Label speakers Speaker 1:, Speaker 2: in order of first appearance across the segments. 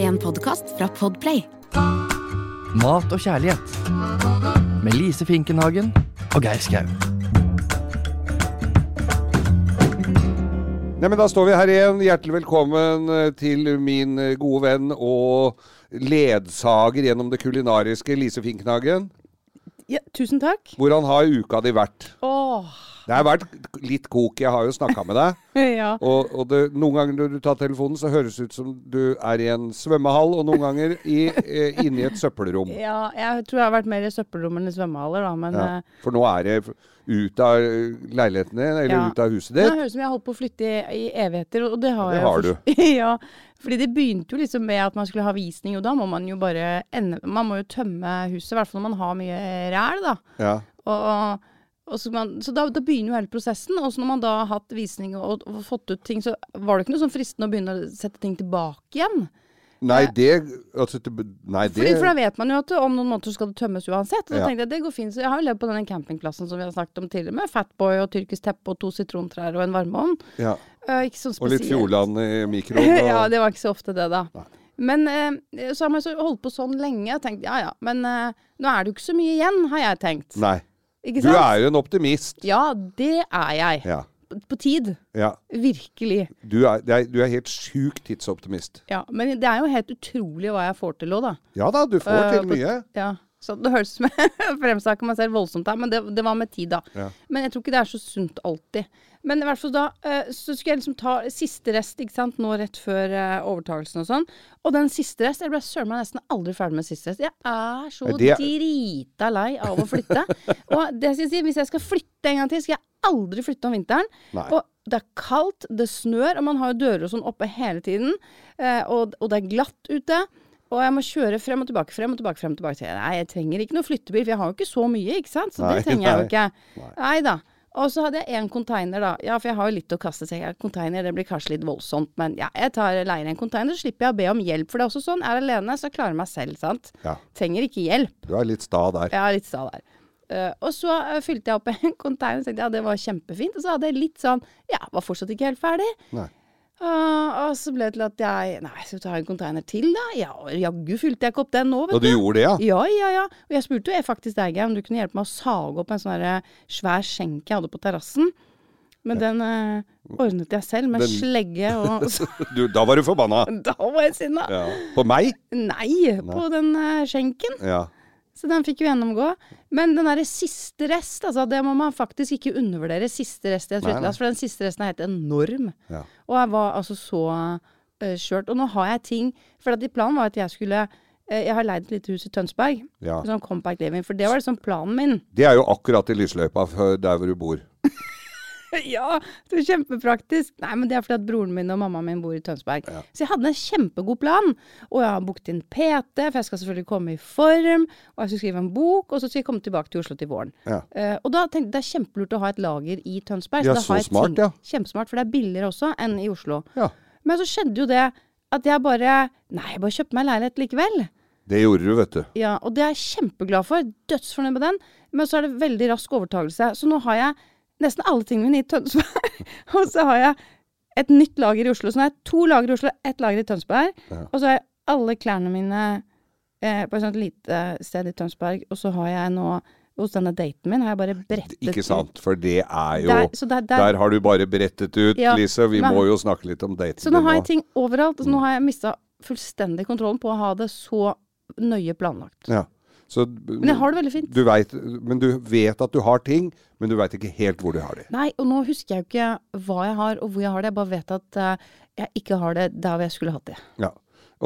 Speaker 1: En podkast fra Podplay.
Speaker 2: Mat og kjærlighet. Med Lise Finkenhagen og Geir Skau.
Speaker 3: Nei, men Da står vi her igjen. Hjertelig velkommen eh, til min eh, gode venn og ledsager gjennom det kulinariske, Lise Finknagen.
Speaker 4: Ja, tusen takk.
Speaker 3: Hvordan har uka di vært?
Speaker 4: Åh,
Speaker 3: Det har vært litt kok. Jeg har jo snakka med deg.
Speaker 4: ja.
Speaker 3: Og, og det, noen ganger når du tar telefonen, så høres det ut som du er i en svømmehall, og noen ganger i, eh, inni et søppelrom.
Speaker 4: ja. Jeg tror jeg har vært mer i søppelrom enn i svømmehaller, da. Men eh,
Speaker 3: Ja,
Speaker 4: ja.
Speaker 3: for nå er det ut av eh, leiligheten din, eller
Speaker 4: Ja.
Speaker 3: ut av huset
Speaker 4: det
Speaker 3: ditt.
Speaker 4: høres ut som jeg har holdt på å flytte i, i evigheter, og det
Speaker 3: Ja,
Speaker 4: har
Speaker 3: det
Speaker 4: jeg jo
Speaker 3: har du.
Speaker 4: først- ja. Fordi det begynte jo liksom med at man skulle ha visning, og da må man jo bare ende Man må jo tømme huset, i hvert fall når man har mye ræl, da.
Speaker 3: Ja.
Speaker 4: Og, og, og så man, så da, da begynner jo hele prosessen. Og så når man da har hatt visning og, og fått ut ting, så var det ikke noe sånn fristende å begynne å sette ting tilbake igjen.
Speaker 3: Nei, det altså, det- Nei,
Speaker 4: Fordi,
Speaker 3: det
Speaker 4: for da vet man jo at om noen måneder så skal det tømmes uansett. Og da
Speaker 3: Ja.
Speaker 4: tenkte jeg det går fint. Så jeg har jo levd på denne campingplassen som vi har snakket om tidligere, med Fatboy og tyrkisk teppe og to sitrontrær og en varmeovn.
Speaker 3: ja.
Speaker 4: Eh, ikke sånn
Speaker 3: Og litt
Speaker 4: spesielt.
Speaker 3: Fjordland i mikroen. Og,
Speaker 4: ja, det var ikke så ofte det, da.
Speaker 3: Nei.
Speaker 4: Men eh, så har man så holdt på sånn lenge og tenkt ja ja, men eh, nå er det jo ikke så mye igjen, har jeg tenkt.
Speaker 3: Nei.
Speaker 4: Ikke
Speaker 3: Du
Speaker 4: sant?
Speaker 3: er jo en optimist.
Speaker 4: Ja, det er jeg.
Speaker 3: Ja.
Speaker 4: På, på tid.
Speaker 3: ja.
Speaker 4: Virkelig.
Speaker 3: Du, er, det er, du er helt sjukt tidsoptimist.
Speaker 4: Ja. Men det er jo helt utrolig hva jeg får til òg, da.
Speaker 3: Ja da, du får
Speaker 4: Eh,
Speaker 3: til
Speaker 4: på-
Speaker 3: mye.
Speaker 4: Ja, så det høres som jeg fremsnakker meg selv voldsomt her, men det, det var med tid, da.
Speaker 3: Ja.
Speaker 4: Men jeg tror ikke det er så sunt alltid. Men i hvert fall da, eh, så skulle jeg liksom ta siste rest, ikke sant, nå rett før eh, overtagelsen og sånn. Og den siste rest, jeg ble søren meg nesten aldri ferdig med siste rest. Jeg er så
Speaker 3: Nei, det er-
Speaker 4: drita lei av å flytte. og det skal jeg si, hvis jeg skal flytte en gang til, skal jeg aldri flytte om vinteren.
Speaker 3: Nei.
Speaker 4: Og det er kaldt, det snør, og man har jo dører og sånn oppe hele tiden. Eh, og, og det er glatt ute. Og jeg må kjøre frem og tilbake, frem og tilbake. frem og tilbake. Så jeg, Nei, jeg trenger ikke noe flyttebil, for jeg har jo ikke så mye, ikke sant? Så
Speaker 3: Nei,
Speaker 4: det trenger jeg jo
Speaker 3: nei.
Speaker 4: ikke. Nei da. Og så hadde jeg én container, da. Ja, for jeg har jo litt å kaste. Så jeg, container, det blir kanskje litt voldsomt, men ja, jeg tar leier en container, så slipper jeg å be om hjelp. For det er også sånn, er jeg alene, så klarer jeg meg selv, sant.
Speaker 3: Ja.
Speaker 4: Trenger ikke hjelp.
Speaker 3: Du er litt sta der.
Speaker 4: Ja, litt sta der. Eh, og så eh, fylte jeg opp en container og tenkte ja, det var kjempefint. Og så hadde jeg litt sånn Ja, var fortsatt ikke helt ferdig.
Speaker 3: Nei.
Speaker 4: Ah, og så ble det til at jeg Nei, skal vi ta en container til, da? Ja, og jaggu fylte jeg ikke opp den nå,
Speaker 3: Og
Speaker 4: vet
Speaker 3: du gjorde det, ja?
Speaker 4: Ja, ja, ja. Og jeg spurte jo jeg faktisk deg, Geir, om du kunne hjelpe meg å sage opp en sånn derre svær skjenk jeg hadde på terrassen. Men den eh, ordnet jeg selv med
Speaker 3: Den-
Speaker 4: slegge og så,
Speaker 3: Du, da var du forbanna.
Speaker 4: Da var jeg sinna.
Speaker 3: Ja. På meg?
Speaker 4: Nei, på den eh, skjenken.
Speaker 3: Ja.
Speaker 4: Så den fikk jo gjennomgå. Men den derre siste rest, altså, det må man faktisk ikke undervurdere. Siste rest i et
Speaker 3: Nei, nei.
Speaker 4: flyttelass, for den siste resten er helt enorm.
Speaker 3: Ja.
Speaker 4: Og jeg var altså så eh, skjørt. Og nå har jeg ting For at i planen var at jeg skulle eh, Jeg har leid et lite hus i Tønsberg.
Speaker 3: Ja.
Speaker 4: Sånn compact living. For det var liksom planen min.
Speaker 3: Det er jo akkurat i lysløypa for der hvor du bor.
Speaker 4: ja, det var kjempepraktisk. Nei, men det er fordi at broren min og mammaen min bor i Tønsberg. Så jeg hadde en kjempegod plan. Og jeg har booket inn PT, for jeg skal selvfølgelig komme i form. Og jeg skal skrive en bok, og så skal jeg komme tilbake til Oslo til våren.
Speaker 3: Ja.
Speaker 4: Eh, og da tenkte jeg det er kjempelurt å ha et lager i Tønsberg.
Speaker 3: Ja,
Speaker 4: da
Speaker 3: så
Speaker 4: har jeg ting-
Speaker 3: smart, ja.
Speaker 4: Kjempesmart, for det er billigere også enn i Oslo.
Speaker 3: Ja.
Speaker 4: Men så skjedde jo det at jeg bare Nei, jeg bare kjøpte meg leilighet likevel.
Speaker 3: Det gjorde du, vet du.
Speaker 4: Ja, og det er jeg kjempeglad for. Dødsfornøyd med den. Men så er det veldig rask overtagelse. Så nå har jeg nesten alle tingene mine i Tønsberg. og så har jeg et nytt lager i Oslo. Så nå har jeg to lager i Oslo, ett lager i Tønsberg. Og så har jeg alle klærne mine eh, på et sånt lite sted i Tønsberg. Og så har jeg nå hos denne daten min har jeg bare brettet
Speaker 3: Ikke
Speaker 4: ut-
Speaker 3: sant? For det er jo
Speaker 4: Der- så der- der-
Speaker 3: har du bare brettet ut,
Speaker 4: Ja,
Speaker 3: Lise. Vi
Speaker 4: men-
Speaker 3: må jo snakke litt om daten
Speaker 4: Så nå
Speaker 3: din
Speaker 4: har jeg ting overalt.
Speaker 3: Mm.
Speaker 4: Så nå har jeg mista fullstendig kontrollen på å ha det så nøye planlagt.
Speaker 3: Ja. Så,
Speaker 4: Men jeg har det veldig fint.
Speaker 3: Du vet, men du vet at du har ting, men du veit ikke helt hvor du har de.
Speaker 4: Nei, og nå husker jeg jo ikke hva jeg har og hvor jeg har det. Jeg bare vet at eh, jeg ikke har det der hvor jeg skulle hatt det.
Speaker 3: Ja.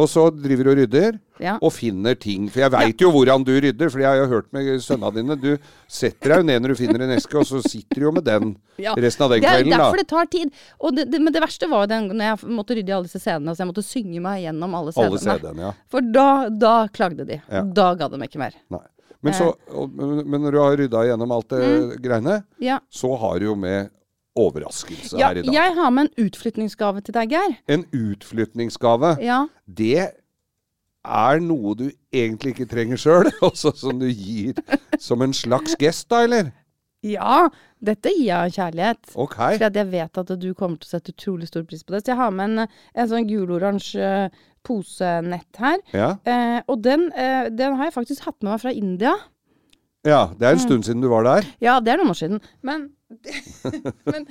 Speaker 3: Og så driver du og rydder,
Speaker 4: Ja.
Speaker 3: og finner ting. For jeg veit jo hvordan du rydder, for jeg har jo hørt med sønnene dine. Du setter deg jo ned når du finner en eske, og så sitter du jo med den resten av den
Speaker 4: det er
Speaker 3: kvelden, da.
Speaker 4: derfor det tar tid. Og det, det, men det verste var jo den når jeg måtte rydde i alle disse scenene. Så jeg måtte synge meg gjennom alle
Speaker 3: Alle
Speaker 4: scenene.
Speaker 3: CD-ene, ja.
Speaker 4: For da, da klagde de.
Speaker 3: Ja.
Speaker 4: Da ga de ikke mer.
Speaker 3: Nei. Men, så,
Speaker 4: Eh.
Speaker 3: og, men men når du har rydda gjennom alt det
Speaker 4: Mm.
Speaker 3: greiene,
Speaker 4: Ja.
Speaker 3: så har du jo med overraskelse
Speaker 4: Ja,
Speaker 3: her i dag.
Speaker 4: jeg har med en utflytningsgave til deg, Geir.
Speaker 3: En utflytningsgave.
Speaker 4: Ja.
Speaker 3: det er noe du egentlig ikke trenger sjøl, altså som du gir som en slags gest, da, eller?
Speaker 4: Ja, dette gir jeg kjærlighet.
Speaker 3: Ok.
Speaker 4: Fordi at jeg vet at du kommer til å sette utrolig stor pris på det. Så jeg har med en, en sånn gul-oransje eh, posenett her.
Speaker 3: Ja.
Speaker 4: Eh, og den, eh, den har jeg faktisk hatt med meg fra India.
Speaker 3: ja. Det
Speaker 4: Mm.
Speaker 3: er en stund siden du var der.
Speaker 4: Ja, det er noen år siden. Men, men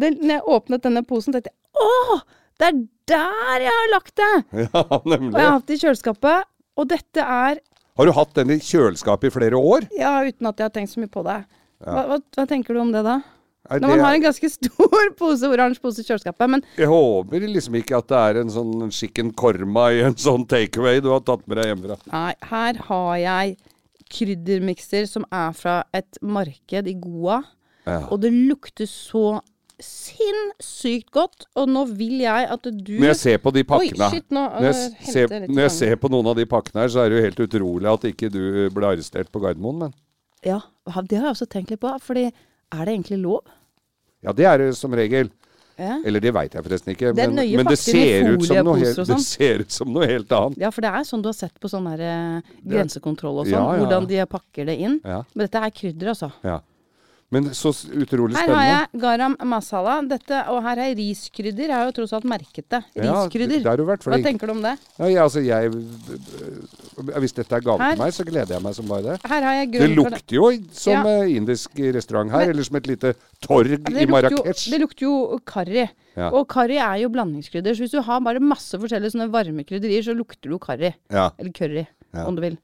Speaker 4: den, når jeg åpnet denne posen, tenkte jeg Å, det er der jeg har lagt det!
Speaker 3: Ja,
Speaker 4: Og jeg
Speaker 3: nemlig.
Speaker 4: har hatt det i kjøleskapet. Og dette er
Speaker 3: Har du hatt den i kjøleskapet i flere år?
Speaker 4: Ja, uten at jeg har tenkt så mye på det. Hva, hva, hva tenker du om det, da?
Speaker 3: Er
Speaker 4: Når man
Speaker 3: det-
Speaker 4: har en ganske stor pose, oransje pose i kjøleskapet. Men
Speaker 3: Jeg håper liksom ikke at det er en sånn skikken korma i en sånn takeaway du har tatt med deg hjemmefra.
Speaker 4: nei, her har jeg kryddermikser som er fra et marked i Goa.
Speaker 3: Ja.
Speaker 4: Og det lukter så sinnssykt godt. Og nå vil jeg at du
Speaker 3: Når jeg ser på de pakkene
Speaker 4: Oi, shit, nå,
Speaker 3: når jeg,
Speaker 4: øh, henter
Speaker 3: ser,
Speaker 4: jeg litt
Speaker 3: når jeg
Speaker 4: vann.
Speaker 3: ser på noen av de pakkene her, så er det jo helt utrolig at ikke du ble arrestert på Gardermoen, men
Speaker 4: Ja, ha- det har jeg også tenkt litt på. Fordi er det egentlig lov?
Speaker 3: ja, det er det som regel.
Speaker 4: Ja,
Speaker 3: Eller det veit jeg forresten ikke,
Speaker 4: Det er
Speaker 3: men,
Speaker 4: nøye
Speaker 3: men det,
Speaker 4: pakket i
Speaker 3: ser ut som noe
Speaker 4: folieposer
Speaker 3: helt,
Speaker 4: og
Speaker 3: det
Speaker 4: sånn.
Speaker 3: ser ut som noe helt annet.
Speaker 4: ja for det er sånn du har sett på sånn der eh, grensekontroll og sånn.
Speaker 3: Ja, ja.
Speaker 4: Hvordan de pakker det inn.
Speaker 3: Ja.
Speaker 4: Men dette er krydder, altså.
Speaker 3: Ja. Men så s- utrolig
Speaker 4: Her har
Speaker 3: spennende.
Speaker 4: jeg garam masala, dette, og her er riskrydder. Jeg har jo tross alt merket det.
Speaker 3: Ja,
Speaker 4: Riskrydder.
Speaker 3: det har du vært
Speaker 4: Hva
Speaker 3: flink.
Speaker 4: tenker du om det?
Speaker 3: Ja, jeg, altså, jeg, øh, hvis dette er gave
Speaker 4: Her.
Speaker 3: til meg, så gleder jeg meg som bare det.
Speaker 4: Her har jeg
Speaker 3: Det
Speaker 4: grønn
Speaker 3: lukter jo som
Speaker 4: Ja.
Speaker 3: eh, indisk restaurant her,
Speaker 4: Men-
Speaker 3: eller som et lite torg
Speaker 4: Ja,
Speaker 3: i
Speaker 4: det lukter jo-
Speaker 3: Marrakech.
Speaker 4: Det lukter jo karri.
Speaker 3: Ja.
Speaker 4: Og karri er jo blandingskrydder. Så hvis du har bare masse forskjellige sånne varme krydderier, så lukter det jo karri.
Speaker 3: Ja.
Speaker 4: Eller curry,
Speaker 3: Ja.
Speaker 4: om du vil.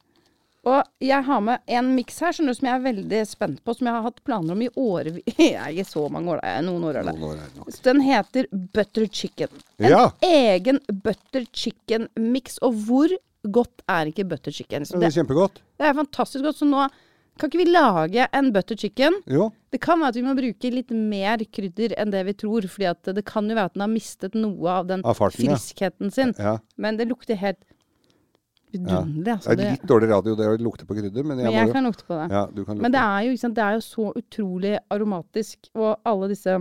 Speaker 4: Og jeg har med en miks her skjønner du, som jeg er veldig spent på, som jeg har hatt planer om i årevis. Ikke så mange år, da. Jeg er Noen år. er det.
Speaker 3: Noen år er det nok.
Speaker 4: Så Den heter butter chicken. En
Speaker 3: Ja.
Speaker 4: egen butter chicken-miks. Og hvor godt er ikke butter chicken? Så
Speaker 3: Ja, Det
Speaker 4: det,
Speaker 3: er kjempegodt.
Speaker 4: det er fantastisk godt. Så nå kan ikke vi lage en butter chicken.
Speaker 3: Jo.
Speaker 4: Det kan være at vi må bruke litt mer krydder enn det vi tror. fordi at det kan jo være at den har mistet noe av den
Speaker 3: Av farten, ja.
Speaker 4: friskheten sin.
Speaker 3: Ja.
Speaker 4: Men det lukter helt vidunderlig.
Speaker 3: Det
Speaker 4: Altså,
Speaker 3: er
Speaker 4: det,
Speaker 3: litt dårlig radio det å lukte på krydder, men jeg
Speaker 4: men
Speaker 3: må
Speaker 4: jeg
Speaker 3: jo
Speaker 4: kan lukte på det.
Speaker 3: ja, du kan
Speaker 4: Men det
Speaker 3: lukte.
Speaker 4: er, jo, ikke sant, det er jo så utrolig aromatisk, og alle disse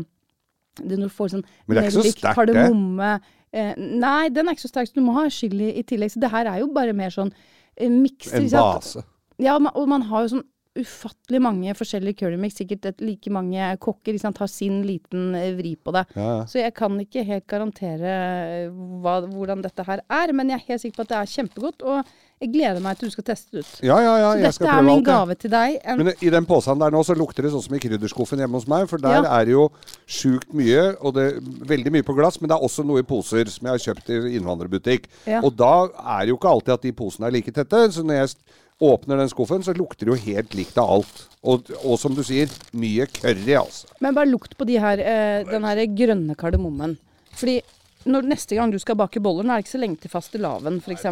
Speaker 4: det Når du får sånn
Speaker 3: Men det er ikke så
Speaker 4: nellik,
Speaker 3: sterkt, det.
Speaker 4: kardemomme eh, Nei, den er ikke så sterk, så du må ha chili i tillegg. Så det her er jo bare mer sånn eh, mikser.
Speaker 3: En
Speaker 4: ikke sant?
Speaker 3: base.
Speaker 4: Ja, ma- og man har jo sånn ufattelig mange forskjellige currymix. Sikkert et, like mange kokker ikke sant, har sin liten eh, vri på det.
Speaker 3: Ja, ja.
Speaker 4: Så jeg kan ikke helt garantere eh, hva, hvordan dette her er, men jeg er helt sikker på at det er kjempegodt, og jeg gleder meg til du skal teste det ut.
Speaker 3: Ja, ja, ja,
Speaker 4: Så
Speaker 3: jeg skal
Speaker 4: dette er
Speaker 3: prøve
Speaker 4: min
Speaker 3: alt. jeg.
Speaker 4: gave til deg. En,
Speaker 3: Men i den posen der nå, så lukter det sånn som i krydderskuffen hjemme hos meg. For der
Speaker 4: Ja.
Speaker 3: er det jo sjukt mye, og det veldig mye på glass, men det er også noe i poser som jeg har kjøpt i innvandrerbutikk.
Speaker 4: Ja.
Speaker 3: Og da er det jo ikke alltid at de posene er like tette. Så når jeg s- åpner den skuffen, så lukter det jo helt likt av alt. Og, og som du sier, mye curry, altså.
Speaker 4: men bare lukt på de her, eh, den her grønne kardemommen. Fordi når, neste gang du skal bake boller, nå er det ikke så lenge til fastelavn, f.eks.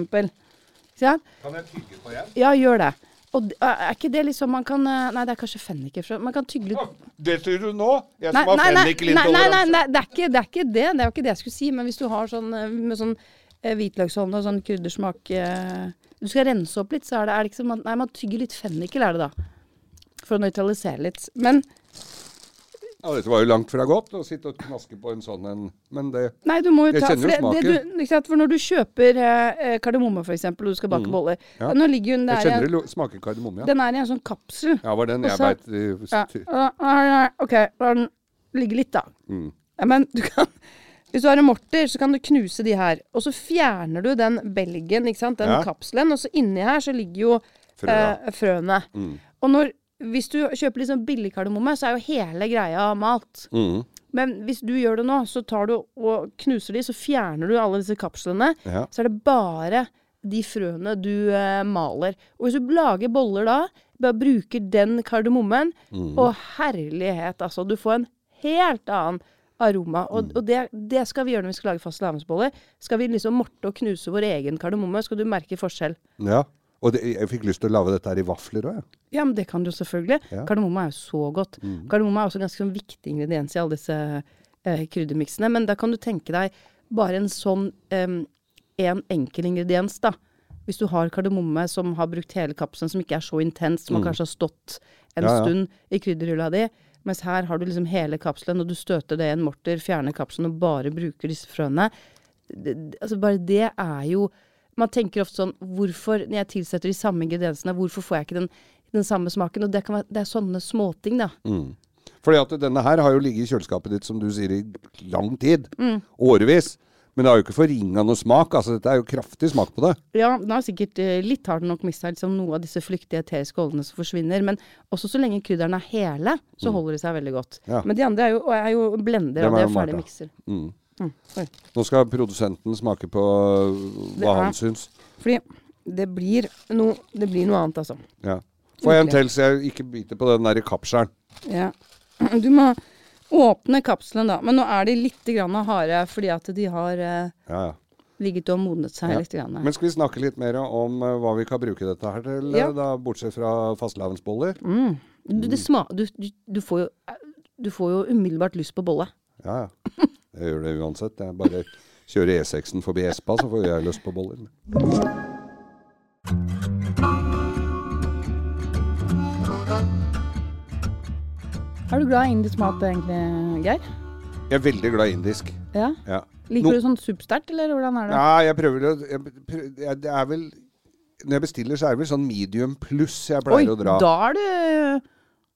Speaker 3: Kan jeg tygge på igjen?
Speaker 4: Ja, gjør det. Og d- er ikke det liksom man kan eh, Nei, det er kanskje fenniker. for Man kan tygge litt
Speaker 3: Det tror du nå? Jeg
Speaker 4: Nei, nei, nei, nei, nei, nei, nei det, er ikke, det er ikke det. Det er jo ikke det jeg skulle si. Men hvis du har sånn eh, med sånn eh, hvitløkshånd og sånn kryddersmak eh, Du skal rense opp litt, så er det, er det ikke som at- Nei, man tygger litt fennikel, er det da. For å nøytralisere litt. Men
Speaker 3: Ja, dette var jo langt fra godt å sitte og knaske på en sånn en, men det
Speaker 4: nei, du må jo
Speaker 3: Jeg
Speaker 4: ta
Speaker 3: kjenner jo
Speaker 4: for, det, det,
Speaker 3: smaken.
Speaker 4: du, ikke sant? for når du kjøper eh, eh, kardemomme, f.eks., og du skal bake boller
Speaker 3: Mm. Ja.
Speaker 4: Nå ligger jo
Speaker 3: Jeg
Speaker 4: den der i
Speaker 3: kjenner det
Speaker 4: en-
Speaker 3: lo- smaker kardemomme, ja.
Speaker 4: Den er i en sånn kapsel.
Speaker 3: Ja, var den
Speaker 4: Og
Speaker 3: jeg
Speaker 4: så-
Speaker 3: veit
Speaker 4: Ja. Ah, ah, ah, OK, la den ligge litt, da.
Speaker 3: Mm.
Speaker 4: Ja, men du kan Hvis du har en morter, så kan du knuse de her. Og så fjerner du den belgen, ikke sant? den
Speaker 3: Ja.
Speaker 4: kapselen. Og så inni her så ligger jo
Speaker 3: Frøa. Mm.
Speaker 4: eh, frøene. Og når, hvis du kjøper litt sånn billig kardemomme, så er jo hele greia malt.
Speaker 3: Mm.
Speaker 4: Men hvis du gjør det nå, så tar du og knuser de, så fjerner du alle disse kapslene.
Speaker 3: Ja.
Speaker 4: Så er det bare de frøene du eh, maler. Og hvis du lager boller da, bare bruker den kardemommen, og herlighet, altså. Du får en helt annen aroma. Og, og det, det skal vi gjøre når vi skal lage fastelavnsboller. Skal vi liksom morte og knuse vår egen kardemomme, skal du merke forskjell.
Speaker 3: ja. Og det, jeg fikk lyst til å lage dette her i vafler òg, jeg.
Speaker 4: Ja, men det kan du jo selvfølgelig.
Speaker 3: Ja. Mm.
Speaker 4: Kardemomme er jo så godt. Kardemomme er også en ganske sånn viktig ingrediens i alle disse eh, kryddermiksene. Men da kan du tenke deg bare en sånn em, en enkel ingrediens, da. Hvis du har kardemomme som har brukt hele kapselen, som ikke er så intens, som kanskje har stått en
Speaker 3: Mm. Ja, ja.
Speaker 4: stund i krydderhylla di. Mens her har du liksom hele kapselen, og du støter det i en morter, fjerner kapselen og bare bruker disse frøene. Det, det- altså bare det er jo Man tenker ofte sånn Hvorfor, når jeg
Speaker 3: Mm.
Speaker 4: tilsetter de samme ingrediensene, hvorfor får jeg ikke den, den samme smaken? Og det, kan være, det er sånne småting, da.
Speaker 3: Fordi at denne her har jo ligget i kjøleskapet ditt, som du sier, i lang tid. Årevis. Men det har jo ikke forringa noe smak. Altså, dette er jo kraftig smak på det.
Speaker 4: Ja, den har sikkert eh, litt har den nok mista liksom, noe av disse flyktige eteriske oljene som forsvinner. Men også så lenge krydderne er hele, så holder de seg veldig godt.
Speaker 3: Mm. Ja.
Speaker 4: Men de andre er jo, og er jo blender,
Speaker 3: Dem
Speaker 4: og det
Speaker 3: er
Speaker 4: er
Speaker 3: jo
Speaker 4: ferdig
Speaker 3: malt,
Speaker 4: mikser.
Speaker 3: Mm.
Speaker 4: Mm. oi.
Speaker 3: Nå skal produsenten smake på øh,
Speaker 5: Det
Speaker 3: hva
Speaker 5: er-
Speaker 3: han syns.
Speaker 5: Fordi det blir, noe- det blir noe annet, altså.
Speaker 3: Ja. Får jeg en til, så jeg ikke biter på den der kapskjæren.
Speaker 5: Ja.
Speaker 4: Du må åpne kapselen, da. Men nå er de litt grann harde fordi at de har eh,
Speaker 3: Ja, ja.
Speaker 4: ligget og modnet seg
Speaker 3: Ja.
Speaker 4: litt. Grann.
Speaker 3: Men skal vi snakke litt mer om eh, hva vi kan bruke dette her til, eh,
Speaker 4: Ja.
Speaker 3: da, bortsett fra fastelavnsboller?
Speaker 4: Du, det sma du, du, du, får jo, du får jo umiddelbart lyst på bolle.
Speaker 3: Ja, ja. Jeg gjør det uansett. Jeg bare kjører E6-en forbi Espa, så får jeg lyst på boller.
Speaker 4: Er du glad i indisk mat egentlig, Geir?
Speaker 3: Jeg er veldig glad i indisk.
Speaker 4: Ja.
Speaker 3: Ja. No-
Speaker 4: Liker du sånn supersterkt, eller hvordan er det?
Speaker 3: Ja, jeg prøver å jeg prø- jeg- Det er vel Når jeg bestiller, så er det vel sånn medium pluss jeg pleier å dra.
Speaker 4: da er du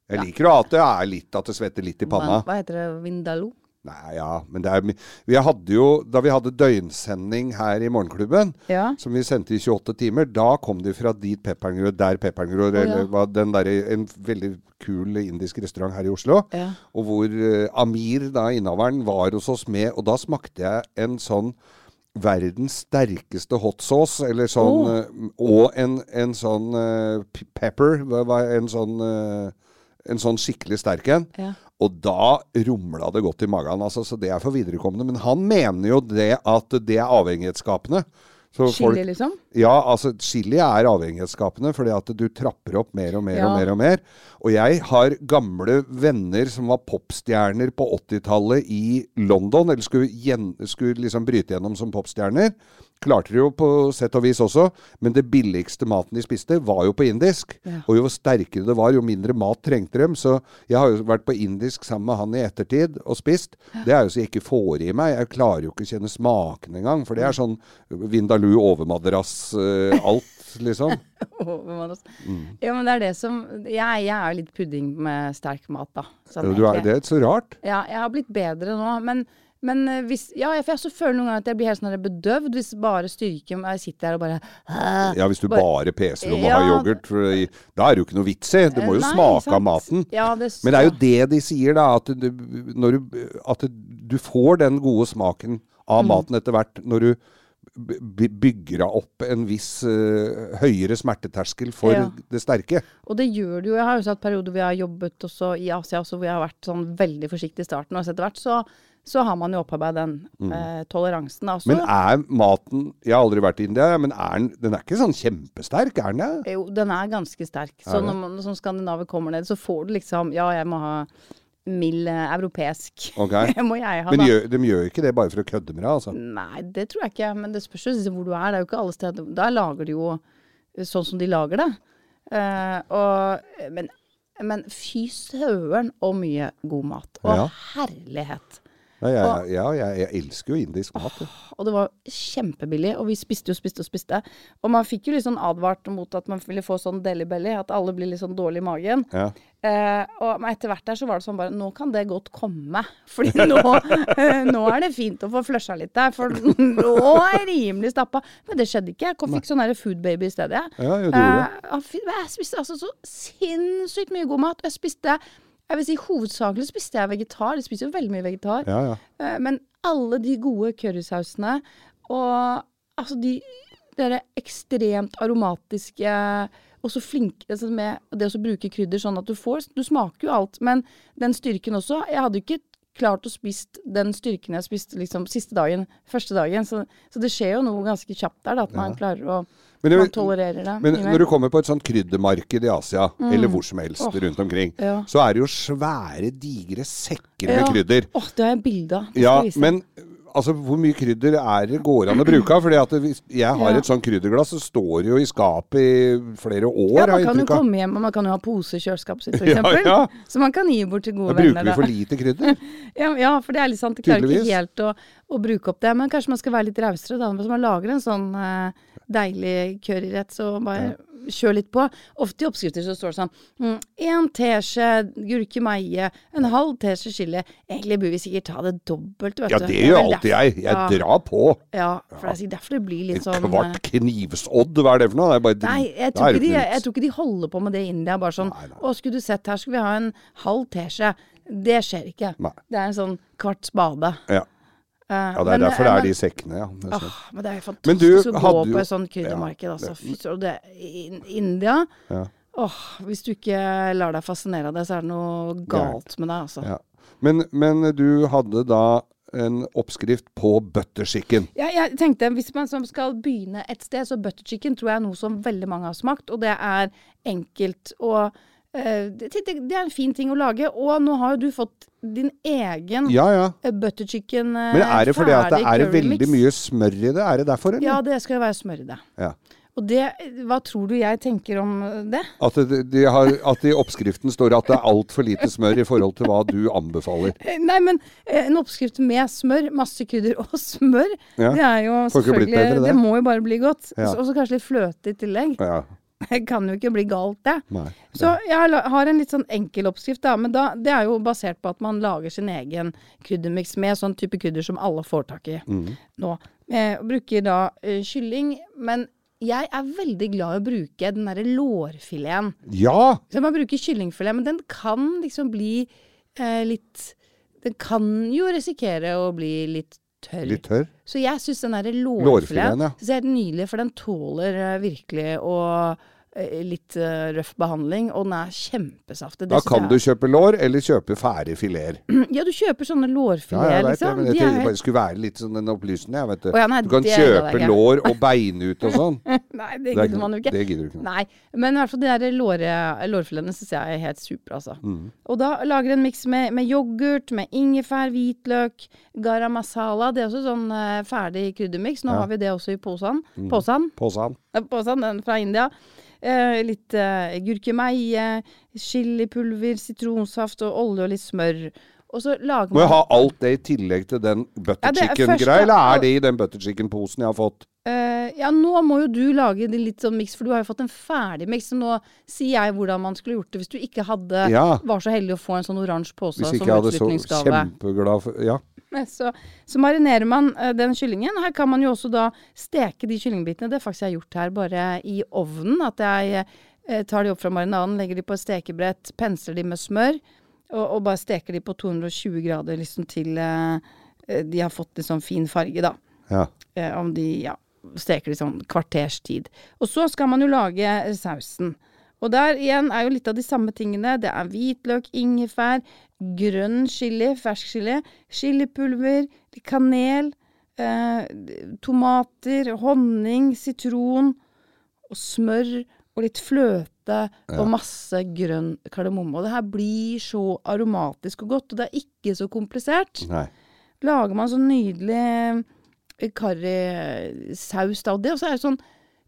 Speaker 3: Jeg liker jo at det er litt at det svetter litt i
Speaker 4: hva,
Speaker 3: panna.
Speaker 4: hva heter det? Vindalo?
Speaker 3: Nei, ja, men det er my- Vi hadde jo Da vi hadde døgnsending her i Morgenklubben,
Speaker 4: Ja.
Speaker 3: som vi sendte i 28 timer, da kom de fra dit peppergrøt, der peppergrøt,
Speaker 4: ja.
Speaker 3: eller hva den derre En veldig kul indisk restaurant her i Oslo.
Speaker 4: Ja.
Speaker 3: Og hvor eh, Amir, da innehaveren, var hos oss med, og da smakte jeg en sånn verdens sterkeste hot sauce, eller sånn eh, Og en, en sånn eh, p- pepper, hva- hva- en sånn eh, en sånn skikkelig sterk en.
Speaker 4: Ja.
Speaker 3: Og da rumla det godt i magen, altså, så det er for viderekomne. Men han mener jo det at det er avhengighetsskapende. Så folk-
Speaker 4: Chili, liksom?
Speaker 3: ja, altså chili er avhengighetsskapende, fordi at du trapper opp mer og mer og
Speaker 4: Ja.
Speaker 3: mer og mer. Og jeg har gamle venner som var popstjerner på 80-tallet i London, eller skulle, gjen, skulle liksom bryte gjennom som popstjerner. Klarte det jo på sett og vis også, men det billigste maten de spiste var jo på indisk. Og jo sterkere det var, jo mindre mat trengte dem. Så jeg har jo vært på indisk sammen med han i ettertid og spist. Det er jo så jeg ikke får i meg. Jeg klarer jo ikke å kjenne smaken engang, for det er sånn Vindaloo overmadrass, eh, alt, liksom.
Speaker 4: Overmann, altså.
Speaker 3: Mm.
Speaker 4: Ja, men det er det som Jeg, jeg er litt pudding med sterk mat, da. Sånn,
Speaker 3: Du er,
Speaker 4: egentlig.
Speaker 3: det er så rart.
Speaker 4: Ja, jeg har blitt bedre nå, men, men eh, hvis Ja, jeg, for jeg så føler noen ganger at jeg blir helt sånn bedøvd hvis bare styrken Jeg sitter der og bare «Åh».
Speaker 3: Ja, Hvis du bare peser om å ha
Speaker 4: Ja.
Speaker 3: yoghurt, for i- da er det jo ikke noe vits i. Det må jo
Speaker 4: Eh, Nei,
Speaker 3: smake
Speaker 4: sant?
Speaker 3: av maten.
Speaker 4: Ja, det,
Speaker 3: Men det er jo det de sier, da. At du, når du, at du får den gode smaken av
Speaker 4: Mm.
Speaker 3: maten etter hvert når du by- bygger deg opp en viss eh, høyere smerteterskel for
Speaker 4: Ja.
Speaker 3: det sterke.
Speaker 4: Og det gjør det jo. Jeg har jo sett perioder hvor jeg har jobbet også i Asia, også hvor jeg har vært sånn veldig forsiktig i starten. Og så etter hvert så, så har man jo opparbeidet den eh, toleransen. da. Så-
Speaker 3: Mm. Men er maten Jeg har aldri vært i India, men er den, den er ikke sånn kjempesterk, er den det?
Speaker 4: Jo, den er ganske sterk. Så når man som skandinaver kommer ned, så får du liksom Ja, jeg må ha mild eh, europeisk.
Speaker 3: Ok.
Speaker 4: Det må jeg ha,
Speaker 3: Men
Speaker 4: da.
Speaker 3: gjør, de gjør ikke det bare for å kødde med deg, altså.
Speaker 4: Nei, det tror jeg ikke. Men det spørs jo liksom hvor du er. Det er jo ikke alle steder Der lager de jo sånn som de lager det. Eh, og, men, men fy søren og mye god mat. Og
Speaker 3: Ja.
Speaker 4: herlighet.
Speaker 3: Nei, jeg, ja, jeg, jeg elsker jo indisk mat. jeg.
Speaker 4: Og det var kjempebillig, og vi spiste og spiste og spiste. Og man fikk jo litt sånn advart mot at man ville få sånn deli belly, at alle blir litt sånn dårlig i magen.
Speaker 3: Ja.
Speaker 4: Eh, og men etter hvert der så var det sånn bare Nå kan det godt komme. Fordi nå, eh, nå er det fint å få flusha litt der, for nå er jeg rimelig stappa. Men det skjedde ikke. Jeg kom- fikk sånn der food baby i stedet. jeg.
Speaker 3: Ja, jo, du gjorde
Speaker 4: Eh, og fy- jeg spiste altså så sinnssykt mye god mat. Og jeg spiste jeg vil si Hovedsakelig spiste jeg vegetar. Jeg spiser jo veldig mye vegetar.
Speaker 3: Ja, ja.
Speaker 4: Eh, Men alle de gode currysausene og altså de dere ekstremt aromatiske og så flinke altså med det å så bruke krydder sånn at du får Du smaker jo alt, men den styrken også. Jeg hadde jo ikke klart å spist den styrken jeg spiste liksom siste dagen, første dagen. Så, så det skjer jo noe ganske kjapt der, da, at man klarer å
Speaker 3: Men det-
Speaker 4: Man tolererer det.
Speaker 3: Men
Speaker 4: mye mer.
Speaker 3: når du kommer på et sånt kryddermarked i Asia, eller hvor som helst rundt omkring,
Speaker 4: Mm. ja.
Speaker 3: så er det jo svære, digre sekker
Speaker 4: Ja.
Speaker 3: med krydder.
Speaker 4: Åh, det har jeg bilde av. Det skal
Speaker 3: Ja,
Speaker 4: jeg vise.
Speaker 3: men altså, hvor mye krydder er det går an å bruke av? Fordi at hvis jeg har
Speaker 4: Ja.
Speaker 3: et sånt krydderglass, så står det jo i skapet i flere år.
Speaker 4: ja,
Speaker 3: har
Speaker 4: man
Speaker 3: jeg
Speaker 4: kan jo
Speaker 3: inntrykk av.
Speaker 4: komme hjem, og man kan jo ha pose i kjøleskapet sitt,
Speaker 3: Ja,
Speaker 4: f.eks. eksempel
Speaker 3: ja.
Speaker 4: Så man kan gi bort til gode
Speaker 3: Da
Speaker 4: venner.
Speaker 3: bruker vi for lite krydder.
Speaker 4: Ja, ja, for det er litt sant. Det klarer ikke
Speaker 3: Tydeligvis.
Speaker 4: helt å, å bruke opp det. Men kanskje man skal være litt rausere da. Hvis man lager en sånn eh, deilig curryrett, så bare kjør litt på. Ofte i oppskrifter så står det sånn mm, en teskje gurkemeie, en halv teskje chili. Egentlig burde vi sikkert ta det dobbelt, vet
Speaker 3: Ja,
Speaker 4: du.
Speaker 3: det gjør
Speaker 4: vel
Speaker 3: alltid jeg. Jeg
Speaker 4: Ja.
Speaker 3: drar på.
Speaker 4: Ja, for det er sikkert derfor det blir
Speaker 3: En
Speaker 4: litt sånn eh,
Speaker 3: kvart knivsodd, hva er det for noe? Det er bare drit-
Speaker 4: Nei, jeg
Speaker 3: Da
Speaker 4: tror,
Speaker 3: er
Speaker 4: ikke
Speaker 3: det
Speaker 4: de,
Speaker 3: ikke
Speaker 4: jeg,
Speaker 3: noe
Speaker 4: tror ikke de holder på med det i India. Bare sånn
Speaker 3: Nei, nei.
Speaker 4: 'Å, skulle du sett, her skulle vi ha en halv teskje'. Det skjer ikke.
Speaker 3: Nei.
Speaker 4: Det er en sånn kvart spade.
Speaker 3: Ja.
Speaker 4: Eh,
Speaker 3: ja, det er derfor det er de sekkene, ja. Det er
Speaker 4: Åh,
Speaker 3: sant.
Speaker 4: men det er jo
Speaker 3: Men du
Speaker 4: fantastisk å gå
Speaker 3: hadde jo-
Speaker 4: på et sånt kryddermarked, altså. Fy søren, det in, India
Speaker 3: Ja.
Speaker 4: Åh, hvis du ikke lar deg fascinere av det, så er det noe galt med deg, altså.
Speaker 3: Ja. Men, men du hadde da en oppskrift på butter chicken.
Speaker 4: Ja, jeg tenkte Hvis man som skal begynne et sted, så butter chicken tror jeg er noe som veldig mange har smakt. Og det er enkelt og eh, det, det det er en fin ting å lage. Og nå har jo du fått din egen
Speaker 3: Ja, ja.
Speaker 4: eh, butter chicken eh,
Speaker 3: Men er det fordi at det
Speaker 4: ferdig
Speaker 3: er
Speaker 4: currymix.
Speaker 3: veldig mye smør i det? Er det derfor,
Speaker 4: Ja,
Speaker 3: eller?
Speaker 4: det skal jo være smør i det.
Speaker 3: Ja.
Speaker 4: Og det, hva tror du jeg tenker om det?
Speaker 3: At det, de har, at det i oppskriften står at det er altfor lite smør i forhold til hva du anbefaler.
Speaker 4: Eh, Nei, men eh, en oppskrift med smør, masse krydder og smør,
Speaker 3: Ja.
Speaker 4: det er jo
Speaker 3: Får ikke blitt
Speaker 4: selvfølgelig
Speaker 3: bedre, det.
Speaker 4: det. må jo bare bli godt.
Speaker 3: Ja.
Speaker 4: Og så kanskje litt fløte i tillegg.
Speaker 3: Ja,
Speaker 4: Det kan jo ikke bli galt, det.
Speaker 3: nei.
Speaker 4: Så jeg har la- har en litt sånn enkel oppskrift, da, men da, det er jo basert på at man lager sin egen kryddermiks med sånn type krydder som alle får tak i
Speaker 3: Mm.
Speaker 4: nå. Eh, og bruker da eh, kylling, men jeg er veldig glad i å bruke den derre lårfileten.
Speaker 3: Ja!
Speaker 4: Så man bruker kyllingfilet, men den kan liksom bli eh, litt Den kan jo risikere å bli litt tørr.
Speaker 3: Litt tørr.
Speaker 4: Så jeg syns den derre
Speaker 3: Lårfileten,
Speaker 4: lårfileten
Speaker 3: ja.
Speaker 4: synes jeg er helt nydelig, for den tåler eh, virkelig å eh, Litt eh, røff behandling, og den er kjempesaftig.
Speaker 3: Da kan du kjøpe lår, eller kjøpe fære fileter.
Speaker 4: Ja, du kjøper sånne
Speaker 3: Ja,
Speaker 4: lårfileter,
Speaker 3: jeg vet det,
Speaker 4: liksom.
Speaker 3: men jeg
Speaker 4: De er
Speaker 3: tenkte
Speaker 4: helt-
Speaker 3: bare det skulle være litt sånn en opplysende, jeg, vet du.
Speaker 4: Å ja, nei,
Speaker 3: du kan
Speaker 4: det
Speaker 3: kjøpe
Speaker 4: gidder jeg ikke.
Speaker 3: lår og bein ut og sånn.
Speaker 4: Nei, det
Speaker 3: Det er
Speaker 4: gidder man jo ikke.
Speaker 3: Det gidder du ikke.
Speaker 4: Nei, men i hvert fall de der låre- lårfiletene syns jeg er helt supre, altså.
Speaker 3: Mm.
Speaker 4: Og da lager en miks med, med yoghurt, med ingefær, hvitløk, garam masala. Det er også sånn eh, ferdig kryddermiks. Nå har vi det også i posen.
Speaker 3: Mm.
Speaker 4: Posen,
Speaker 3: Påsan.
Speaker 4: Eh, posen den fra India. Eh, litt eh, gurkemeie, chilipulver, sitronsaft og olje og litt smør. Og så lager
Speaker 3: Må
Speaker 4: man
Speaker 3: jeg ha alt det i tillegg til den
Speaker 4: Ja,
Speaker 3: butter
Speaker 4: det er
Speaker 3: chicken-greia,
Speaker 4: første-
Speaker 3: eller er det i den butter chicken-posen jeg har fått?
Speaker 4: Eh, ja, nå må jo du lage det litt sånn miks, for du har jo fått en ferdig miks. Så nå sier jeg hvordan man skulle gjort det hvis du ikke hadde
Speaker 3: Ja.
Speaker 4: var så heldig å få en sånn oransje pose
Speaker 3: Hvis
Speaker 4: som
Speaker 3: ikke jeg hadde så
Speaker 4: utrykningsgave.
Speaker 3: kjempeglad for Ja.
Speaker 4: Eh, Så, så marinerer man eh, den kyllingen. Her kan man jo også da steke de kyllingbitene. Det har faktisk jeg gjort her, bare i ovnen. At jeg eh, tar de opp fra marinaden, legger de på et stekebrett, pensler de med smør, og, og bare steker de på 220 grader liksom til eh, eh, de har fått litt sånn fin farge, da.
Speaker 3: ja.
Speaker 4: Eh, om de ja, steker det sånn kvarters tid. Og så skal man jo lage eh, sausen. Og der igjen er jo litt av de samme tingene. Det er hvitløk, ingefær, grønn chili, fersk chili, chilipulver, kanel, eh, tomater, honning, sitron, og smør og litt fløte og masse grønn kardemomme. Og det her blir så aromatisk og godt, og det er ikke så komplisert
Speaker 3: Nei.
Speaker 4: lager man sånn nydelig currysaus da, og det, og så er det sånn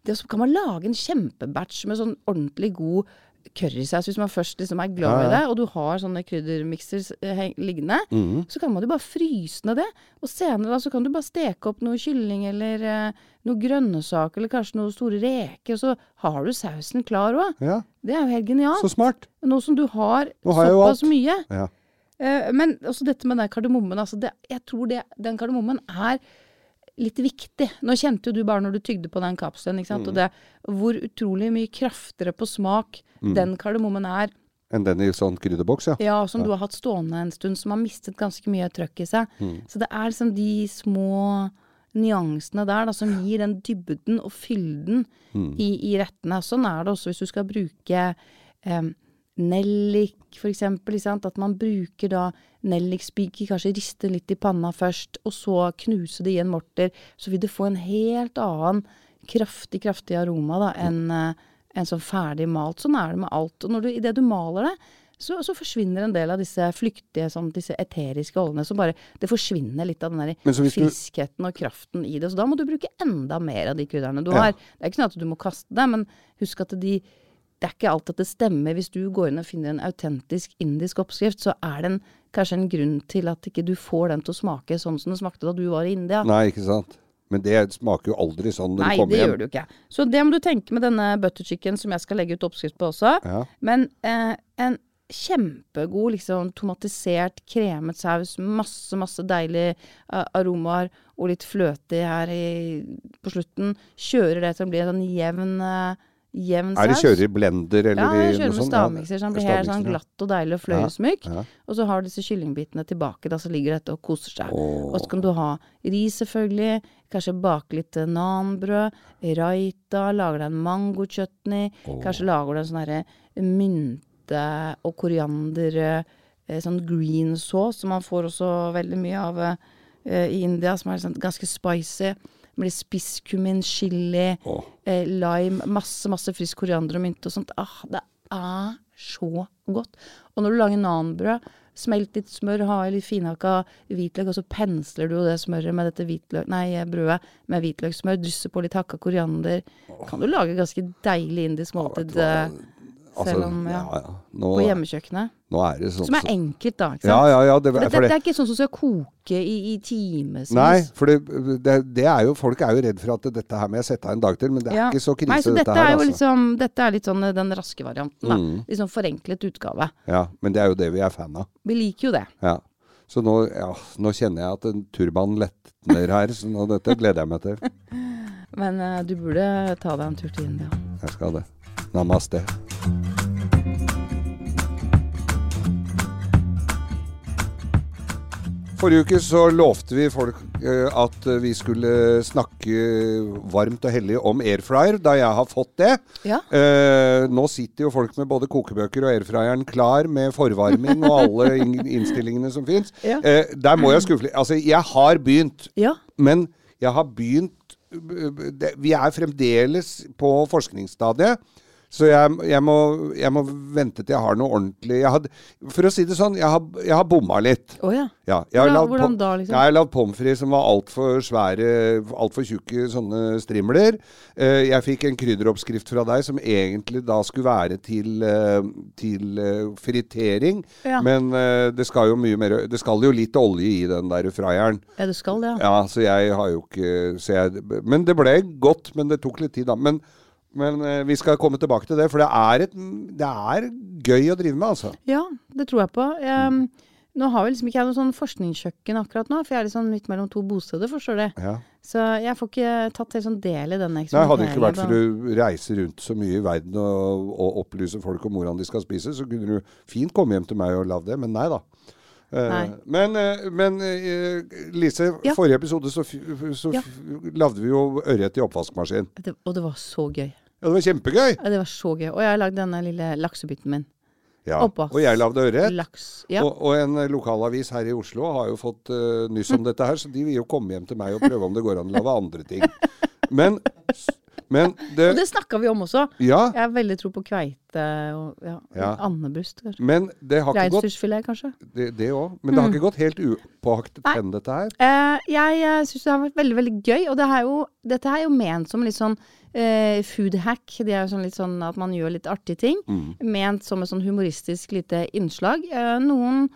Speaker 4: det, så kan man lage en kjempebatch med sånn ordentlig god currysaus hvis man først liksom er glad i det, og du har sånne kryddermikser eh, heng- liggende.
Speaker 3: Mhm.
Speaker 4: Så kan man jo bare fryse ned det, og senere da så kan du bare steke opp noe kylling eller eh, noe grønnsaker eller kanskje noen store reker, og så har du sausen klar òg.
Speaker 3: Ja,
Speaker 4: Det er jo helt genialt.
Speaker 3: så smart.
Speaker 4: Nå som du har,
Speaker 3: Nå har jeg jo
Speaker 4: såpass
Speaker 3: alt.
Speaker 4: mye.
Speaker 3: Ja.
Speaker 4: Eh, Men også dette med den kardemommen. Altså det, jeg tror det, den kardemommen er litt viktig. Nå kjente jo du bare når du tygde på den kapselen, ikke sant? og det, hvor utrolig mye kraftigere på smak den kardemommen er.
Speaker 3: Enn den i sånn krydderboks, ja.
Speaker 4: Ja, som du har hatt stående en stund, som har mistet ganske mye trøkk i seg. Så det er liksom de små nyansene der da, som gir den dybden og fylden i, i rettene. Sånn er det også hvis du skal bruke eh, nellik, for eksempel. Ikke sant? At man bruker da nellikspiker, kanskje riste litt i panna først, og så knuse det i en morter. Så vil du få en helt annen kraftig, kraftig aroma da, enn eh, en sånn ferdig malt. Sånn er det med alt. Og når du, i det du maler det, så, så forsvinner en del av disse flyktige, sånn, disse eteriske oljene. Så bare, det forsvinner litt av den
Speaker 3: Men så
Speaker 4: der
Speaker 3: hvis du-
Speaker 4: friskheten og kraften i det. Så da må du bruke enda mer av de krydderne du
Speaker 3: Ja.
Speaker 4: har. Det er ikke sånn at du må kaste det, men husk at de det er ikke alt at det stemmer. Hvis du går inn og finner en autentisk indisk oppskrift, så er det en, kanskje en grunn til at ikke du får den til å smake sånn som den smakte da du var i India.
Speaker 3: Nei, ikke sant. Men det smaker jo aldri sånn når
Speaker 4: Nei,
Speaker 3: du kommer
Speaker 4: det
Speaker 3: hjem.
Speaker 4: gjør du ikke. Så det må du tenke med denne butter chicken som jeg skal legge ut oppskrift på også.
Speaker 3: Ja.
Speaker 4: Men eh, en kjempegod liksom tomatisert, kremet saus, masse, masse deilige eh, aromaer og litt fløte her i, på slutten. Kjører det til å bli en sånn jevn, eh, jevn
Speaker 3: Er det
Speaker 4: saus.
Speaker 3: kjører i blender eller
Speaker 4: ja, jeg
Speaker 3: i noe
Speaker 4: kjører med
Speaker 3: sånt?
Speaker 4: stavmikser, så den blir helt sånn
Speaker 3: stavmikser, ja.
Speaker 4: glatt og deilig og fløyelsmyk.
Speaker 3: Ja, ja.
Speaker 4: Og så har du disse kyllingbitene tilbake, da, så ligger dette og koser seg.
Speaker 3: Åh.
Speaker 4: Og så kan du ha ris, selvfølgelig. Kanskje bake litt eh, nanbrød. Raita. Lager deg en mangochutney. Kanskje lager du en sånn herre mynte og koriander eh, Sånn green sauce, som man får også veldig mye av eh, i India, som er sånn ganske spicy. Med litt spisskummin, chili,
Speaker 3: Åh.
Speaker 4: eh, lime, masse, masse frisk koriander og mynte og sånt. Ah, det er så godt. Og når du lager nanbrød, smelt litt smør, ha i litt finhakka hvitløk, og så pensler du jo det smøret med dette hvitløk, nei, brødet med hvitløkssmør, drysser på litt hakka koriander. Kan du lage ganske deilig indisk måltid eh,
Speaker 3: Altså,
Speaker 4: selv om, ja,
Speaker 3: ja, ja. Nå,
Speaker 4: på hjemmekjøkkenet.
Speaker 3: nå er det sånn
Speaker 4: Som er enkelt, da. ikke sant?
Speaker 3: Ja, ja, ja. Det,
Speaker 4: For det,
Speaker 3: for
Speaker 4: det,
Speaker 3: det,
Speaker 4: det er ikke sånn som skal koke i, i timevis.
Speaker 3: nei, for det, det, det er jo Folk er jo redd for at dette her må jeg sette av en dag til, men det er
Speaker 4: Ja.
Speaker 3: ikke så krise,
Speaker 4: Nei, så dette,
Speaker 3: her.
Speaker 4: er jo
Speaker 3: altså. Mm.
Speaker 4: liksom, dette er litt sånn eh, den raske varianten. Da. Litt sånn forenklet utgave.
Speaker 3: Ja, men det er jo det vi er fan av.
Speaker 4: Vi liker jo det.
Speaker 3: Ja. Så nå, ja, nå kjenner jeg at en turban letner her, så nå, dette gleder jeg meg til.
Speaker 4: Men eh, du burde ta deg en tur til India.
Speaker 3: Jeg skal det. Namaste. Forrige uke så lovte vi folk eh, at vi skulle snakke varmt og hellig om airfryer, da jeg har fått det.
Speaker 4: Ja.
Speaker 3: Eh, nå sitter jo folk med både kokebøker og airfryeren klar med forvarming og alle in- innstillingene som fins.
Speaker 4: Ja.
Speaker 3: Eh, der må jeg skuffe litt. Altså, jeg har begynt.
Speaker 4: Ja.
Speaker 3: Men jeg har begynt det- Vi er fremdeles på forskningsstadiet. Så jeg, jeg, må, jeg må vente til jeg har noe ordentlig jeg hadde, For å si det sånn, jeg har, jeg har bomma litt.
Speaker 4: Å ja.
Speaker 3: Ja, jeg har
Speaker 4: Hvordan-
Speaker 3: lagd
Speaker 4: hvordan
Speaker 3: pom-
Speaker 4: da, liksom?
Speaker 3: Jeg har lagd pommes frites som var altfor svære, altfor tjukke sånne strimler. Eh, Jeg fikk en krydderoppskrift fra deg som egentlig da skulle være til, eh, til eh, fritering.
Speaker 4: Ja.
Speaker 3: Men eh, det skal jo mye mer Det skal jo litt olje i den der fryeren.
Speaker 4: ja, du skal det, ja.
Speaker 3: Ja, så jeg har jo ikke så jeg, Men det ble godt, men det tok litt tid, da. Men, men eh, vi skal komme tilbake til det, for det er, et, det er gøy å drive med, altså.
Speaker 4: Ja, det tror jeg på. Ehm, nå har vi liksom ikke jeg noe sånn forskningskjøkken akkurat nå, for jeg er liksom midt mellom to bosteder, forstår du.
Speaker 3: Ja.
Speaker 4: Så jeg får ikke tatt helt sånn del i denne
Speaker 3: Nei, hadde det ikke
Speaker 4: eksperimenteringen.
Speaker 3: vært for du reiser rundt så mye i verden og, og opplyser folk om hvordan de skal spise, så kunne du fint komme hjem til meg og lagd det, men nei da. Eh,
Speaker 4: Nei.
Speaker 3: Men, eh, men eh, Lise,
Speaker 4: Ja.
Speaker 3: forrige episode så, f- så
Speaker 4: Ja.
Speaker 3: f- lagde vi jo ørret i oppvaskmaskin.
Speaker 4: det, og det var så gøy.
Speaker 3: Ja, det var kjempegøy!
Speaker 4: Ja, Det var så gøy. Og jeg har lagd denne lille laksebiten min.
Speaker 3: Ja.
Speaker 4: Oppvask-
Speaker 3: Og jeg lagde ørret.
Speaker 4: Laks. Ja.
Speaker 3: Og, og en eh, lokalavis her i Oslo har jo fått eh, nyss
Speaker 4: Mm.
Speaker 3: om dette her, så de vil jo komme hjem til meg og prøve om det går an å lage andre ting. Men, men det,
Speaker 4: Og det snakka vi om også.
Speaker 3: ja,
Speaker 4: Jeg har veldig tro på kveite og ja,
Speaker 3: Ja.
Speaker 4: andebrust, kanskje.
Speaker 3: men det har ikke gått
Speaker 4: Reinsdyrsfilet, kanskje.
Speaker 3: det, det også, men det har ikke gått helt upåaktet
Speaker 4: Mm. Nei.
Speaker 3: hen, dette her.
Speaker 4: Eh, jeg eh, syns det har vært veldig veldig gøy, og det er jo, dette er jo ment som litt sånn eh, food hack. Det er jo sånn litt sånn at man gjør litt artige ting.
Speaker 3: Mm.
Speaker 4: Ment som et sånn humoristisk lite innslag. Eh, noen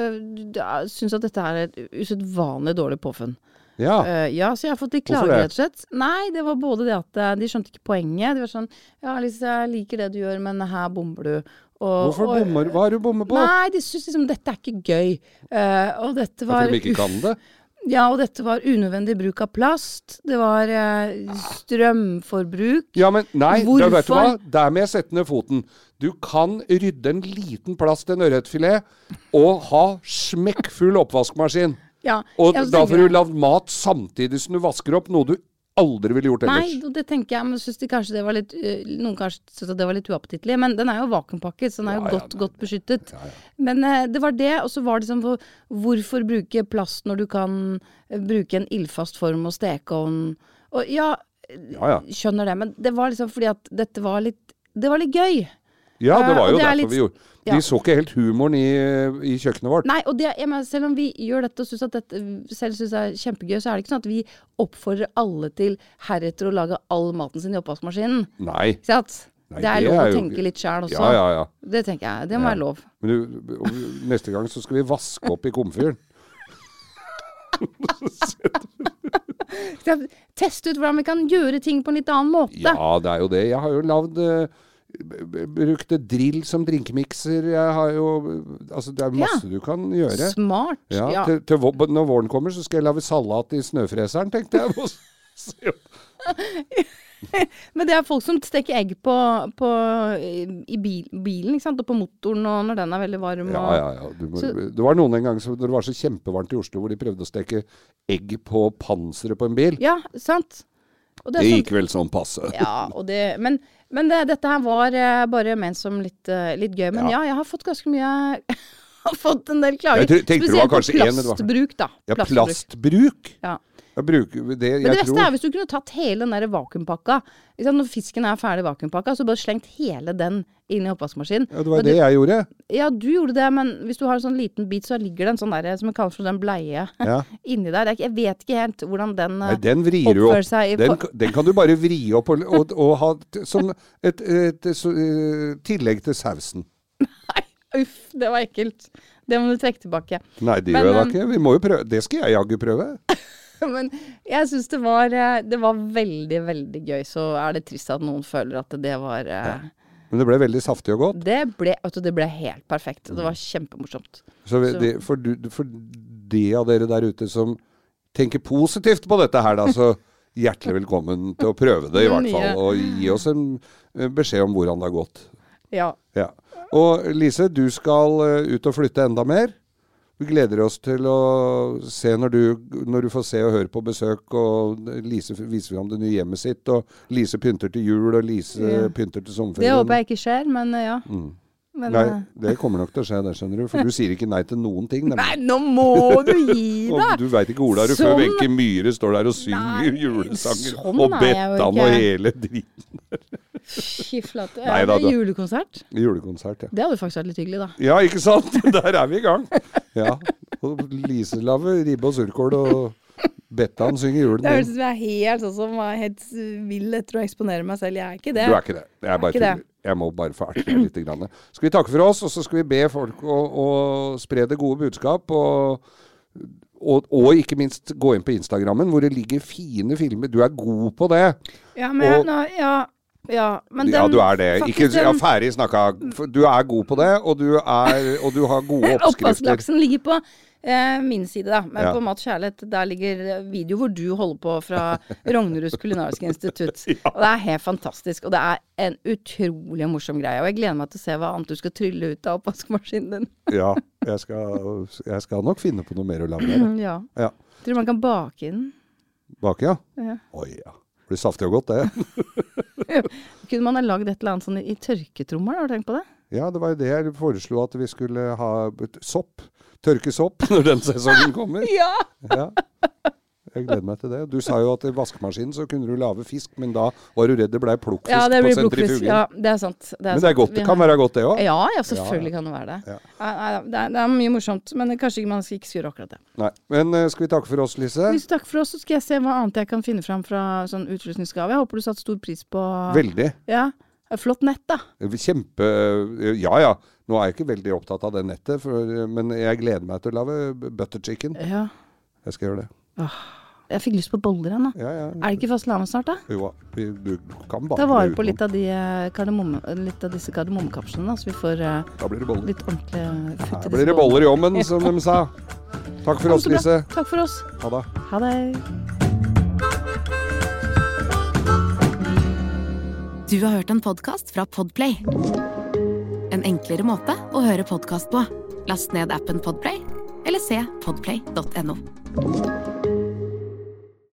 Speaker 4: uh, syns at dette er et usedvanlig dårlig påfunn.
Speaker 3: Ja.
Speaker 4: Eh, ja, så jeg har fått litt
Speaker 3: Ah. Hvorfor
Speaker 4: klager,
Speaker 3: det?
Speaker 4: rett og slett. Nei, det var både det at eh, de skjønte ikke poenget. De var sånn Ja, Lise, jeg liker det du gjør, men her bommer du. Og,
Speaker 3: Hvorfor
Speaker 4: og-
Speaker 3: bommer Hva er det du bommer på?
Speaker 4: Nei, de syns liksom dette er ikke gøy. Eh, og dette var
Speaker 3: Fordi de ikke kan det?
Speaker 4: ja, og dette var unødvendig bruk av plast. Det var eh, strømforbruk.
Speaker 3: Ja, men nei, da vet du hva?
Speaker 4: Hvorfor?
Speaker 3: Der må jeg sette ned foten. Du kan rydde en liten plass til en ørretfilet og ha smekkfull oppvaskmaskin.
Speaker 4: Ja,
Speaker 3: Og
Speaker 4: ja, så
Speaker 3: da
Speaker 4: tenker
Speaker 3: får du
Speaker 4: jeg-
Speaker 3: lagd mat samtidig som du vasker opp, noe du aldri ville gjort ellers.
Speaker 4: Nei, og det tenker jeg, men syns de kanskje det var litt eh, Noen kanskje syntes at det var litt uappetittlig, men den er jo vakuumpakket, så den er jo
Speaker 3: Ja, ja,
Speaker 4: godt, godt beskyttet.
Speaker 3: ja, ja.
Speaker 4: Men eh, det var det, og så var det liksom hvor, Hvorfor bruke plast når du kan eh, bruke en ildfast form og stekeovn? Og ja,
Speaker 3: Ja, ja.
Speaker 4: skjønner det, men det var liksom fordi at dette var litt Det var litt gøy.
Speaker 3: ja, det
Speaker 4: Eh,
Speaker 3: var
Speaker 4: og
Speaker 3: jo
Speaker 4: det er
Speaker 3: derfor
Speaker 4: litt-
Speaker 3: vi gjorde
Speaker 4: ja.
Speaker 3: De så ikke helt humoren i, i kjøkkenet vårt.
Speaker 4: Nei, og det, jeg mener, selv om vi gjør dette og synes at dette selv syns er kjempegøy, så er det ikke sånn at vi oppfordrer alle til heretter å lage all maten sin i oppvaskmaskinen.
Speaker 3: Nei.
Speaker 4: Ikke sant?
Speaker 3: Nei,
Speaker 4: det er
Speaker 3: det
Speaker 4: lov
Speaker 3: er
Speaker 4: å
Speaker 3: jo-
Speaker 4: tenke litt sjæl også.
Speaker 3: Ja, ja, ja.
Speaker 4: Det tenker jeg. Det må
Speaker 3: Ja.
Speaker 4: være lov.
Speaker 3: Men du, og neste gang så skal vi vaske opp i komfyren.
Speaker 4: Skal jeg Teste ut hvordan vi kan gjøre ting på en litt annen måte.
Speaker 3: Ja, det er jo det. Jeg har jo lagd eh, Brukte drill som drinkemikser. Jeg har jo Altså, det er masse du kan gjøre.
Speaker 4: Smart.
Speaker 3: Ja,
Speaker 4: Ja.
Speaker 3: Til, til, vå- når våren kommer, så skal jeg lage salat i snøfreseren, tenkte jeg. Og så-
Speaker 4: Men det er folk som steker egg på, på i i bil, bilen, ikke sant. Og på motoren og når den er veldig varm.
Speaker 3: Ja,
Speaker 4: og-
Speaker 3: ja, ja. Du må,
Speaker 4: Så-
Speaker 3: det var noen en gang som, når det var så kjempevarmt i Oslo, hvor de prøvde å steke egg på panseret på en bil.
Speaker 4: ja. sant. Og
Speaker 3: Det
Speaker 4: sånn-
Speaker 3: gikk vel sånn passe.
Speaker 4: Ja, og det, men, men det, dette her var eh, bare ment som litt, eh, litt gøy. Men ja. jeg har fått ganske mye Har fått en del klager.
Speaker 3: Jeg tror- tenkte det var
Speaker 4: Spesielt på
Speaker 3: kanskje en, eller hva?
Speaker 4: plastbruk, da.
Speaker 3: Ja, plastbruk.
Speaker 4: Ja.
Speaker 3: Jeg bruker det
Speaker 4: Men det
Speaker 3: jeg
Speaker 4: beste
Speaker 3: tror
Speaker 4: er hvis du kunne tatt hele den der vakuumpakka. Ikke sant, Når fisken er ferdig vakuumpakka, så bare slengt hele den inn i oppvaskmaskinen.
Speaker 3: ja, Det var
Speaker 4: Og
Speaker 3: det jeg gjorde.
Speaker 4: Ja, du gjorde det, men hvis du har en sånn liten bit, så ligger det en sånn derre som jeg kaller for den bleie
Speaker 3: Ja.
Speaker 4: inni der. Det er ikke- Jeg vet ikke helt hvordan den eh,
Speaker 3: Nei, den vrir du opp.
Speaker 4: oppfører seg i
Speaker 3: Den,
Speaker 4: for-
Speaker 3: ka- den kan du bare vri opp og, og, og ha t- som et, et, så- eh, tillegg til sausen.
Speaker 4: Nei, uff, det var ekkelt. Det må du trekke tilbake.
Speaker 3: Nei, det
Speaker 4: Men,
Speaker 3: gjør jeg da
Speaker 4: eh,
Speaker 3: ikke. Vi må jo prøve. Det skal jeg jaggu prøve.
Speaker 4: Men jeg syns det var eh, Det var veldig, veldig gøy. Så er det trist at noen føler at det var eh,
Speaker 3: Men det ble veldig saftig og godt.
Speaker 4: Det ble, vet du, det ble helt perfekt. Det var
Speaker 3: Mm.
Speaker 4: kjempemorsomt.
Speaker 3: Så vi-
Speaker 4: Så-
Speaker 3: det, for, du, for de av dere der ute som tenker positivt på dette her, da, så hjertelig velkommen til å prøve det, i hvert
Speaker 4: Nye.
Speaker 3: fall. Og gi oss en eh, beskjed om hvordan det har gått.
Speaker 4: Ja.
Speaker 3: Ja. Og Lise, du skal eh, ut og flytte enda mer. Vi gleder oss til å se når du, når du får se og høre på besøk, og Lise f- viser fram det nye hjemmet sitt, og Lise pynter til jul, og Lise
Speaker 4: Ja.
Speaker 3: pynter til
Speaker 4: Det
Speaker 3: sommerferien.
Speaker 4: håper jeg ikke skjer, men eh, ja. Men,
Speaker 3: Mm. Nei,
Speaker 4: eh,
Speaker 3: det kommer nok til å skje, det skjønner du. For du sier ikke nei til noen ting. nemlig.
Speaker 4: nei, nå må du gi
Speaker 3: Og
Speaker 4: deg!
Speaker 3: du veit ikke Ola du
Speaker 4: Sånn-
Speaker 3: før Wenche Myhre står der og synger
Speaker 4: Nei,
Speaker 3: julesanger.
Speaker 4: sånn
Speaker 3: og
Speaker 4: er jeg jo
Speaker 3: Bettan
Speaker 4: ikke.
Speaker 3: og hele driten.
Speaker 4: Fy flate.
Speaker 3: Nei
Speaker 4: Er
Speaker 3: da,
Speaker 4: det
Speaker 3: da. Mm.
Speaker 4: julekonsert?
Speaker 3: Julekonsert, ja.
Speaker 4: Det hadde faktisk vært litt hyggelig, da.
Speaker 3: Ja, ikke sant? Der er vi i gang. Ja. Og Lise lager ribbe og surkål, og Bettan synger julen.
Speaker 4: Det høres
Speaker 3: din.
Speaker 4: ut som jeg er helt sånn som jeg er helt eh, vill etter å eksponere meg selv. Jeg er ikke det.
Speaker 3: Du er ikke det. Jeg er bare
Speaker 4: ikke det.
Speaker 3: tuller. Jeg må bare få erte deg litt. Grann. Skal vi takke for oss, og så skal vi be folk å, å spre det gode budskap. Og, og, og ikke minst gå inn på Instagrammen, hvor det ligger fine filmer. Du er god på det.
Speaker 4: Ja, men jeg,
Speaker 3: Og-
Speaker 4: nå, ja, ja, men den,
Speaker 3: ja, du er det.
Speaker 4: faktisk
Speaker 3: Ikke, ja,
Speaker 4: den-
Speaker 3: ferdig snakka. For Du er god på det, og du, er, og du har gode oppskrifter.
Speaker 4: Oppvasklaksen ligger på eh, min side, da. Men
Speaker 3: Ja.
Speaker 4: på Mat og kjærlighet, der ligger eh, video hvor du holder på fra Rognerus kulinariske institutt. Og det er helt fantastisk. Og det er en utrolig morsom greie. Og jeg gleder meg til å se hva annet du skal trylle ut av oppvaskmaskinen din.
Speaker 3: Ja, jeg skal, jeg skal nok finne på noe mer å lage der.
Speaker 4: Mm, ja.
Speaker 3: Ja.
Speaker 4: Tror du man kan bake den?
Speaker 3: Bak, ja?
Speaker 4: Ja.
Speaker 3: Oi, ja. Blir saftig og godt, det.
Speaker 4: Kunne man ha lagd et eller annet sånn i, i tørketrommel? Har du tenkt på det?
Speaker 3: Ja, det var jo det jeg foreslo at vi skulle ha bet- sopp. Tørke sopp når den sesongen kommer.
Speaker 4: Ja!
Speaker 3: Ja. Jeg gleder meg til det. Du sa jo at i vaskemaskinen så kunne du lage fisk, men da var du redd det blei plukkfisk
Speaker 4: Ja, det
Speaker 3: på
Speaker 4: blir blodkryss.
Speaker 3: sentrifugen.
Speaker 4: Ja, det er sant. er
Speaker 3: men det
Speaker 4: sant.
Speaker 3: er godt.
Speaker 4: Vi
Speaker 3: Det kan være godt, det òg.
Speaker 4: Ja, ja, selvfølgelig kan det være det.
Speaker 3: Ja.
Speaker 4: Nei, nei, det, er, det er mye morsomt, men kanskje ikke- man skal ikke skure akkurat det.
Speaker 3: Men eh, skal vi takke for oss, Lise?
Speaker 4: Tusen takk for oss, så skal jeg se hva annet jeg kan finne fram fra sånn utrustningsgave. Jeg håper du satte stor pris på
Speaker 3: Veldig.
Speaker 4: Ja. Flott nett, da.
Speaker 3: Eh, Kjempe eh, Ja ja, nå er jeg ikke veldig opptatt av det nettet, for, eh, men jeg gleder meg til å lage butter chicken.
Speaker 4: Ja.
Speaker 3: Jeg skal gjøre det.
Speaker 4: Jeg fikk lyst på boller ennå.
Speaker 3: Ja, ja.
Speaker 4: Er det ikke fastelavn snart, da?
Speaker 3: Jo, vi- du kan bare
Speaker 4: Ta vare på
Speaker 3: utenom.
Speaker 4: litt av, de eh, kardemomme, litt av disse kardemommekapslene, da, så vi får eh,
Speaker 3: Da blir det boller.
Speaker 4: litt ordentlig futt
Speaker 3: Her
Speaker 4: i
Speaker 3: blir
Speaker 4: disse
Speaker 3: det boller i ommen, som de sa. Takk for
Speaker 4: Ja,
Speaker 3: oss,
Speaker 4: så bra.
Speaker 3: Lise.
Speaker 4: Takk for oss.
Speaker 3: Ha det.
Speaker 4: Ha det.
Speaker 1: Du har hørt en podkast fra Podplay. En enklere måte å høre podkast på. Last ned appen Podplay, eller se podplay.no.